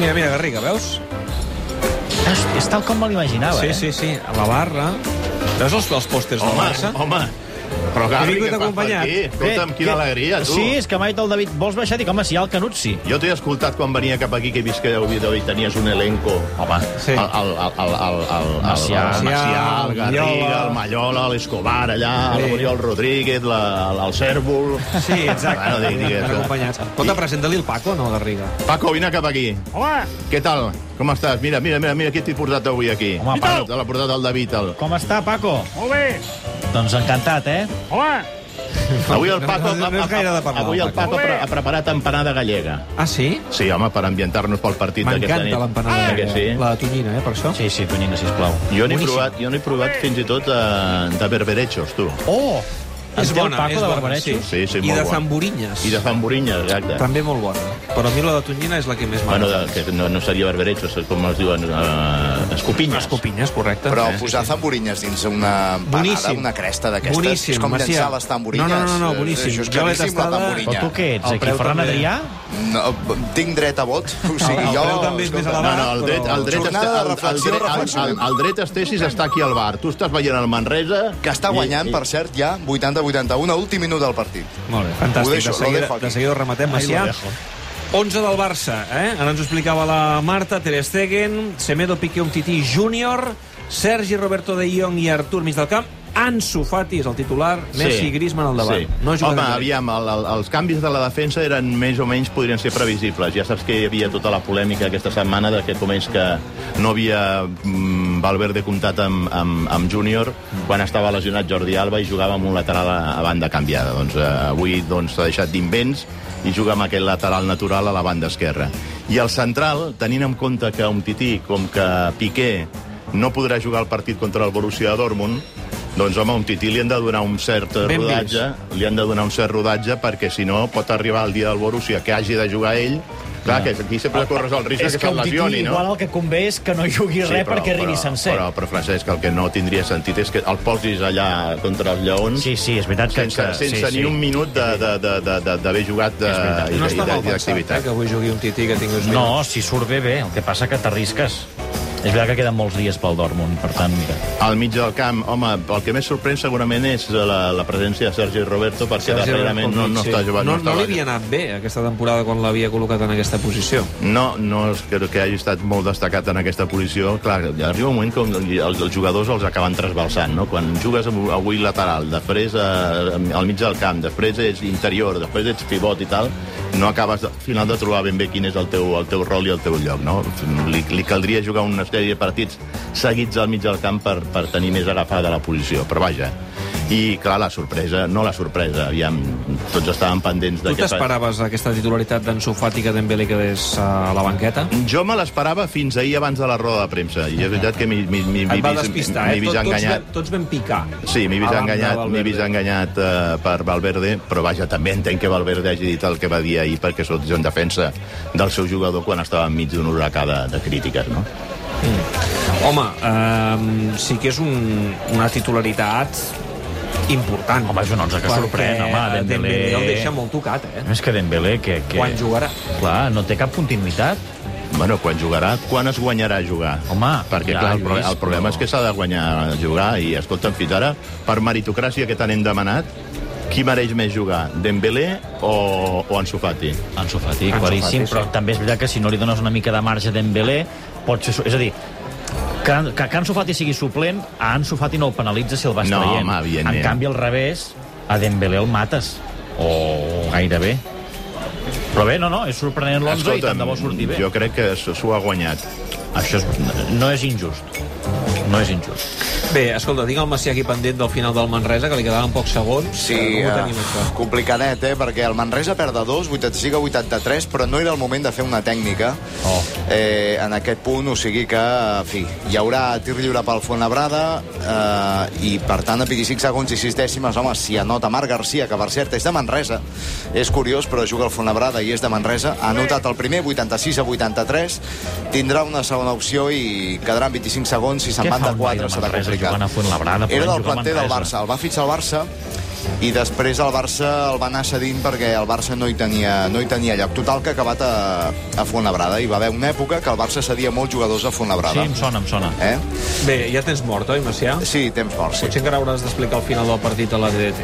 Mira, mira, Garriga, veus? És, és tal com me Ah, l'imaginava, Sí, eh? sí, sí, a la barra. Veus els, els pòsters del Home, Barça? home, però He Gabri, vingut que fas per acompanyat. aquí? Escolta'm, Bé, quina que- alegria, tu. Sí, és que m'ha dit el David, vols baixar? Dic, home, si hi ha el Canut, sí. Jo t'he escoltat quan venia cap aquí, que he vist que al vídeo hi tenies un elenco. Home, Sí. el, el, el, el, el, el, Macià. el, Macià, el Macià, Garriga, Mallola. el Mallola, l'Escobar allà, Sí. l'Oriol Rodríguez, la, el, el Cèrvol... Sí, exacte. Bueno, dic, dic, Acompanyats. Escolta, presenta-li el Paco, no, Garriga? Paco, vine cap aquí. Home, Què tal? Com estàs? Mira, mira, mira, mira qui t'he portat avui aquí. Home, Paco. Te l'ha portat el David. El... com està, Paco? Molt bé. Doncs encantat, eh? Avui el No, Paco... no, no és gaire de parlar, avui el el Paco. Paco pre- ha preparat empanada gallega. Ah, sí? Sí, home, per ambientar-nos pel partit d'aquesta nit. M'encanta l'empanada. Eh que gallega, sí? La de tonyina, eh, per això. Sí, sí, Tonyina, sisplau. Jo n'he Boníssim. provat, jo n'he provat fins i tot eh, de, de berberechos, tu. Oh! És en té bona, el Paco és de bona, Barbarejos? Sí, sí, I molt de bona. zamborinyes. I de zamborinya, exacte. També molt bona. Però a mi la de tonyina és la que més Bueno, m'agrada. de, que no, no seria berberechos, és com es diuen, uh, escopinyes. Escopinyes, correcte. Però Eh? posar tamborinyes dins una empanada, Boníssim. una cresta d'aquestes, Boníssim, és com Macià. llençar les tamborinyes. No, no, no, no, Eh, boníssim. Això és Jo l'he claríssim, la tastada. Però tamborinya. tu què ets, El aquí, preu Ferran també. Adrià? No, b- tinc dret a vot. O sigui, El- el jo... preu també és més escolta, No, elevat. no, el dret, el dret, Jornada està, de el, el, reflexió, dret, el, el, reflexionant. el dret estesis està aquí al bar. Tu estàs veient el Manresa... Que està guanyant, per cert, ja 80-81, a últim minut del partit. Molt bé, fantàstic. Ho deixo, de, lo seguida, dejo aquí. de seguida ho rematem, Macià. 11 del Barça, eh? Ara ens ho explicava la Marta, Ter Stegen, Semedo Piqué Umtiti Júnior, Sergi Roberto de Jong i Artur mig del camp, Ansu Fati és el titular, Messi i Griezmann al davant. No Home, Home, aviam. aviam, el, el, els canvis de la defensa eren més o menys, podrien ser previsibles. Ja saps que hi havia tota la polèmica aquesta setmana de que com és que no havia mm, Valverde comptat amb, amb, amb Júnior quan estava lesionat Jordi Alba i jugava amb un lateral a, a banda canviada. Doncs eh, avui s'ha doncs, s'ha deixat d'invents i juga amb aquest lateral natural a la banda esquerra. I el central, tenint en compte que un tití com que Piqué no podrà jugar el partit contra el Borussia Dortmund, doncs, home, a un tití li han de donar un cert Ben vist. rodatge li han de donar un cert rodatge perquè si no pot arribar el dia del Borussia que hagi de jugar ell clar, que aquí sempre corres el risc de És que, que se'n un tití lesioni, no? igual el que convé és que no jugui res perquè arribi sencer. Però, però, Francesc, el que no tindria sentit és que el posis allà contra els lleons Sí, sí, és veritat que... sense, que- sí, sense sí. ni un minut de- de- de- de- de- d'haver jugat de, i No de- està mal i de- i pensat, eh, d'activitat. que avui jugui un tití que tingui uns minuts. No, si surt bé, bé. El que passa que t'arrisques. És veritat que queden molts dies pel Dortmund, per tant... mira. Al mig del camp, home, el que més sorprèn segurament és la, la presència de Sergi Roberto, perquè Sergi darrerament no, Roberto, no sí. està jugant. No, està no li jugant. havia anat bé aquesta temporada quan l'havia col·locat en aquesta posició. No, no és que, que hagi estat molt destacat en aquesta posició. Clar, arriba un moment que els, els jugadors els acaben trasbalsant, no? Quan jugues av- avui lateral, després eh, al mig del camp, després ets interior, després ets pivot i tal, no acabes de- al final de trobar ben bé quin és el teu, el teu rol i el teu lloc, no? Li, li caldria jugar una sèrie de partits seguits al mig del camp per, per tenir més agafada la posició, però vaja. I, clar, la sorpresa, no la sorpresa, aviam, tots estàvem pendents de Tu què fa- t'esperaves aquesta titularitat d'Ansu Fati que Dembélé quedés a la banqueta? Jo me l'esperava fins ahir abans de la roda de premsa i és veritat que m'hi m'hi- m'hi- m'hi Et va vist- despistar, m'hi eh? vist Tot- Tots, enganyat. vam- tots vam picar. Sí, m'hi he vist a banda enganyat, del m'he vist Valverde. enganyat eh, per Valverde, però vaja, també entenc que Valverde hagi dit el que va dir ahir perquè sóc jo en defensa del seu jugador quan estava enmig d'un huracà de, de crítiques, no? Home, eh, sí que és un, una titularitat important. Home, és un onze que Perquè sorprèn, home, Dembélé. el deixa molt tocat, eh? És que Dembélé, que... que... Quan jugarà? Clar, no té cap continuïtat. Bueno, quan jugarà, quan es guanyarà a jugar? Home, perquè ja, clar, el, pro Lluís, el problema però- és que s'ha de guanyar a jugar i escolta'm, fins ara, per meritocràcia que tant hem demanat, qui mereix més jugar, Dembélé o, o Ansu Fati? Ansu Fati, Ansu Fati, claríssim, sí. però també és veritat que si no li dones una mica de marge a Dembélé, pot ser... És a dir, que, que, que Ansu Fati sigui suplent, a Ansu Fati no el penalitza si el vas No, traient. home, evidentment. en canvi, al revés, a Dembélé el mates. O gairebé. Però bé, no, no, és sorprenent l'11 i tant de bo surti bé. jo crec que s- s'ho ha guanyat. Això és, no és injust. No és injust. Bé, escolta, tinc el Macià aquí pendent del final del Manresa, que li quedaven pocs segons. Sí, Eh, Com ho eh, tenim, això? complicadet, eh? Perquè el Manresa perd de 2, 85 a 83, però no era el moment de fer una tècnica Oh. eh, en aquest punt, o sigui que, en fi, hi haurà tir lliure pel Fontlabrada eh, i, per tant, a 25 segons i 6 dècimes, home, si anota Marc Garcia, que per cert és de Manresa, és curiós, però juga al Fontlabrada i és de Manresa, ha anotat el primer, 86 a 83, tindrà una segona opció i quedarà en 25 segons i se'n Què van fa de un noi de 4, serà Manresa complicat. jugant a Fuenlabrada? Era Podem del jugar a planter del Manresa. Barça, el va fitxar el Barça i després el Barça el va anar cedint perquè el Barça no hi tenia, no hi tenia lloc. Total, que ha acabat a, a Fontlabrada. Hi va haver una època que el Barça cedia molts jugadors a Ah, Sí, Fontlabrada. em sona, em sona. Eh? Bé, ja tens mort, oi, Macià? Sí, temps fort, sí. Potser encara hauràs d'explicar al final del partit a la DDT.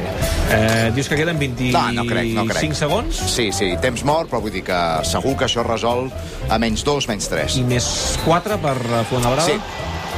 Eh, dius que queden 25 No, no crec, no crec. segons? Sí, sí, temps mort, però vull dir que segur que això resol a menys 2, menys 3. I més 4 per eh, Fuenlabrada? Sí,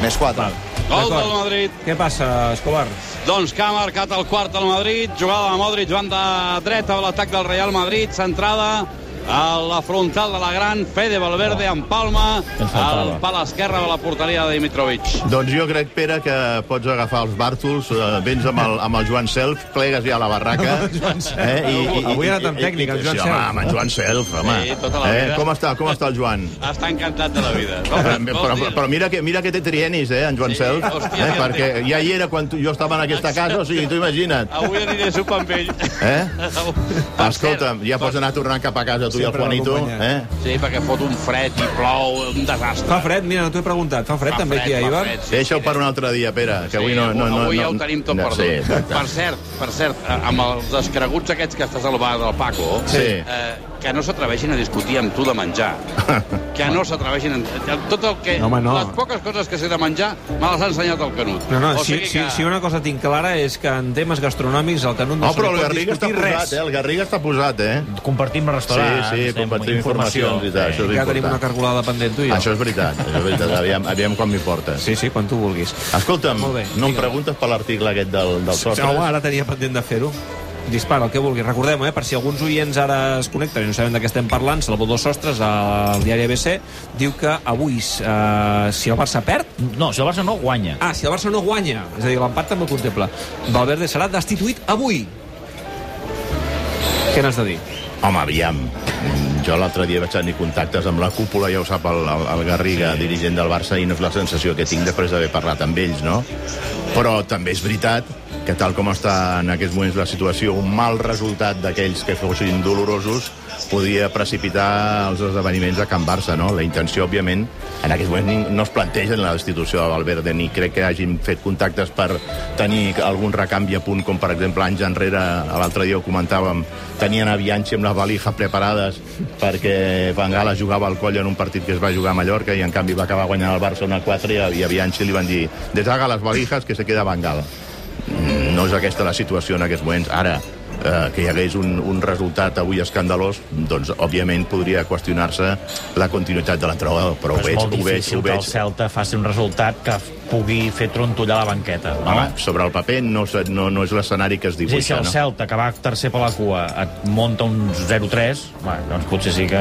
més 4. Val. Gol D'acord. del Madrid. Què passa, Escobar? Doncs que ha marcat el quart del Madrid, jugada de Modric, banda dreta a l'atac del Real Madrid, centrada a la frontal de la gran Fede Valverde en Palma, Ens faltava. al pal esquerre de la porteria de Dimitrovic. Doncs jo crec, Pere, que pots agafar els bàrtols, eh, vens amb el, amb el Joan Self, plegues ja a la barraca... Amb el Joan Self. Eh, Avui ha anat amb tècnic, el Joan sí, Self. Home, amb el Joan Self, home. Sí, tota la eh, vida. com està, com està el Joan? Està encantat de la vida. Eh, Vols- Però, vols dir- però mira, que, mira que té trienis, eh, en Joan Sí, Self, hòstia, eh, ja perquè té. ja hi era quan tu, jo estava en aquesta casa, o sigui, tu imagina't. Avui aniré a sopar amb ell. Eh? Per Escolta, cert, doncs ja pots anar tornant cap a casa tu i el Sempre Juanito, eh? l'acompanyat. Sí, perquè fot un fred i plou, un desastre. Fa fred, mira, no t'ho he preguntat. Fa fred Fa també fred, aquí, fa eh, Ivan? fred, sí, Deixa-ho sí, per un altre dia, Pere, que avui Sí, no... no, no avui no, ja ho tenim tot no, perdut. Sí, exacte. per cert, per cert, eh, amb els descreguts aquests que estàs al bar del Paco, Sí. eh, que no s'atreveixin a discutir amb tu de menjar. que no s'atreveixin... A... Tot el que... No, home, no. Les poques coses que sé de menjar me les ha ensenyat el Canut. No, no, o si, sigui si, que... si una cosa tinc clara és que en temes gastronòmics el Canut no, No, se li però el pot Garriga està discutir posat, res. eh? El Garriga està posat, eh? Compartim restaurants. Sí, sí, eh, compartim informacions i tal, eh. això és Encara tenim important. una cargolada pendent, tu i jo. Això és veritat, això és veritat. Aviam, aviam quan m'hi portes. Sí, sí, quan tu vulguis. Escolta'm, Molt bé, no em digue'm. preguntes per l'article aquest del, del Sòcrates? No, ara tenia pendent de fer-ho. Dispara, el que vulgui. Recordem, eh, per si alguns oients ara es connecten i no sabem de què estem parlant, Salvador Sostres, al diari ABC, diu que avui, eh, si el Barça perd... No, si el Barça no guanya. Ah, si el Barça no guanya, és a dir, l'empat també el contempla. Valverde serà destituït avui. Què n'has de dir? Home, aviam. Mm, Jo l'altre dia vaig tenir contactes amb la cúpula, ja ho sap el, el, el Garriga, sí. dirigent del Barça, i no és la sensació que tinc després d'haver parlat amb ells, no? Però també és veritat que tal com està en aquests moments la situació, un mal resultat d'aquells que fossin dolorosos podia precipitar els esdeveniments a Can Barça, no? La intenció, òbviament, en aquests moments ning- no es planteja en la destitució de Valverde, ni crec que hagin fet contactes per tenir algun recanvi a punt, com per exemple anys enrere, l'altre dia ho comentàvem, tenien a Bianchi amb les valijas preparades perquè Van Gala jugava al coll en un partit que es va jugar a Mallorca i en canvi va acabar guanyant el Barça 1-4 i a, i a Bianchi li van dir deshaga les valijas que se queda Van Gala. Mm, No és aquesta la situació en aquests moments. Ara, eh, que hi hagués un, un resultat avui escandalós, doncs, òbviament, podria qüestionar-se la continuïtat de la troba, però ho és veig, molt ho veig, difícil ho que el veig. Celta faci un resultat que pugui fer trontollar la banqueta. No? Home, sobre el paper no, se- no, no és l'escenari que es És a dir, si dibuixa, el no? Celta, que va tercer per la cua, et munta un 0-3, bé, doncs potser sí que...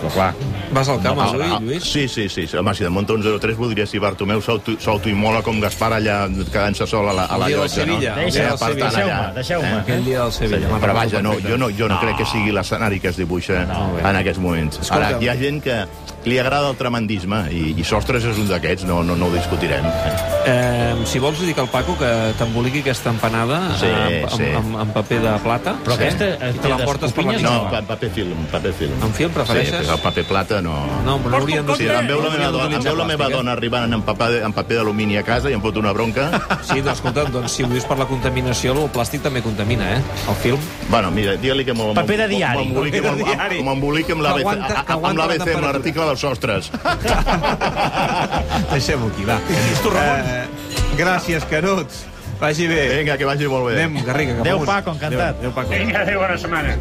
Però clar, Vas al camp No, avui, Ah, Lluís? sí, sí, sí. Home, si de munta un 0-3 voldria si Bartomeu s'auto- s'autoimmola com Gaspar allà quedant-se sol a la, a la El dia del llotja, no? Sevilla, el Eh, dia del per tant, Sevilla. allà, Deixeu-me, eh? Aquell dia del Sevilla. Sí, me'n però recordo vaja, no, perfecte. jo no, jo no, crec que sigui l'escenari que es dibuixa en aquests moments. Ara, Escolta'm. hi ha gent que li agrada el tremendisme i, i Sostres és un d'aquests, no, no, no ho discutirem. Eh, si vols, li dic al Paco que t'emboliqui aquesta empanada Sí, eh, amb, sí. amb, amb, amb paper de plata. Però sí, aquesta, eh, I té te l'emportes per la descopinyes, nit. No, va. pa- paper film, paper film. Amb film prefereixes? Sí, el paper plata no... No, però no haurien Sí, em veu la meva, dona, em veu la meva dona arribant en paper, en paper d'alumini a casa i em fot una bronca. Sí, doncs, escolta, doncs, si ho dius per la contaminació, el plàstic també contamina, eh? El film. Bueno, mira, digue-li que m'ho- Paper de diari. m'emboliqui Paper de amb- diari. m'emboliqui amb Que aguanta- que l'ABC, amb aguanta la l'ABC, amb temperatura. l'article dels sostres. Deixem-ho aquí, va. Tu, eh, gràcies, Canut. Vagi bé. Vinga, que vagi molt bé. Anem, Garriga, cap Adéu, amunt. Paco, encantat. Adéu, Paco. Vinga, adéu, bona setmana.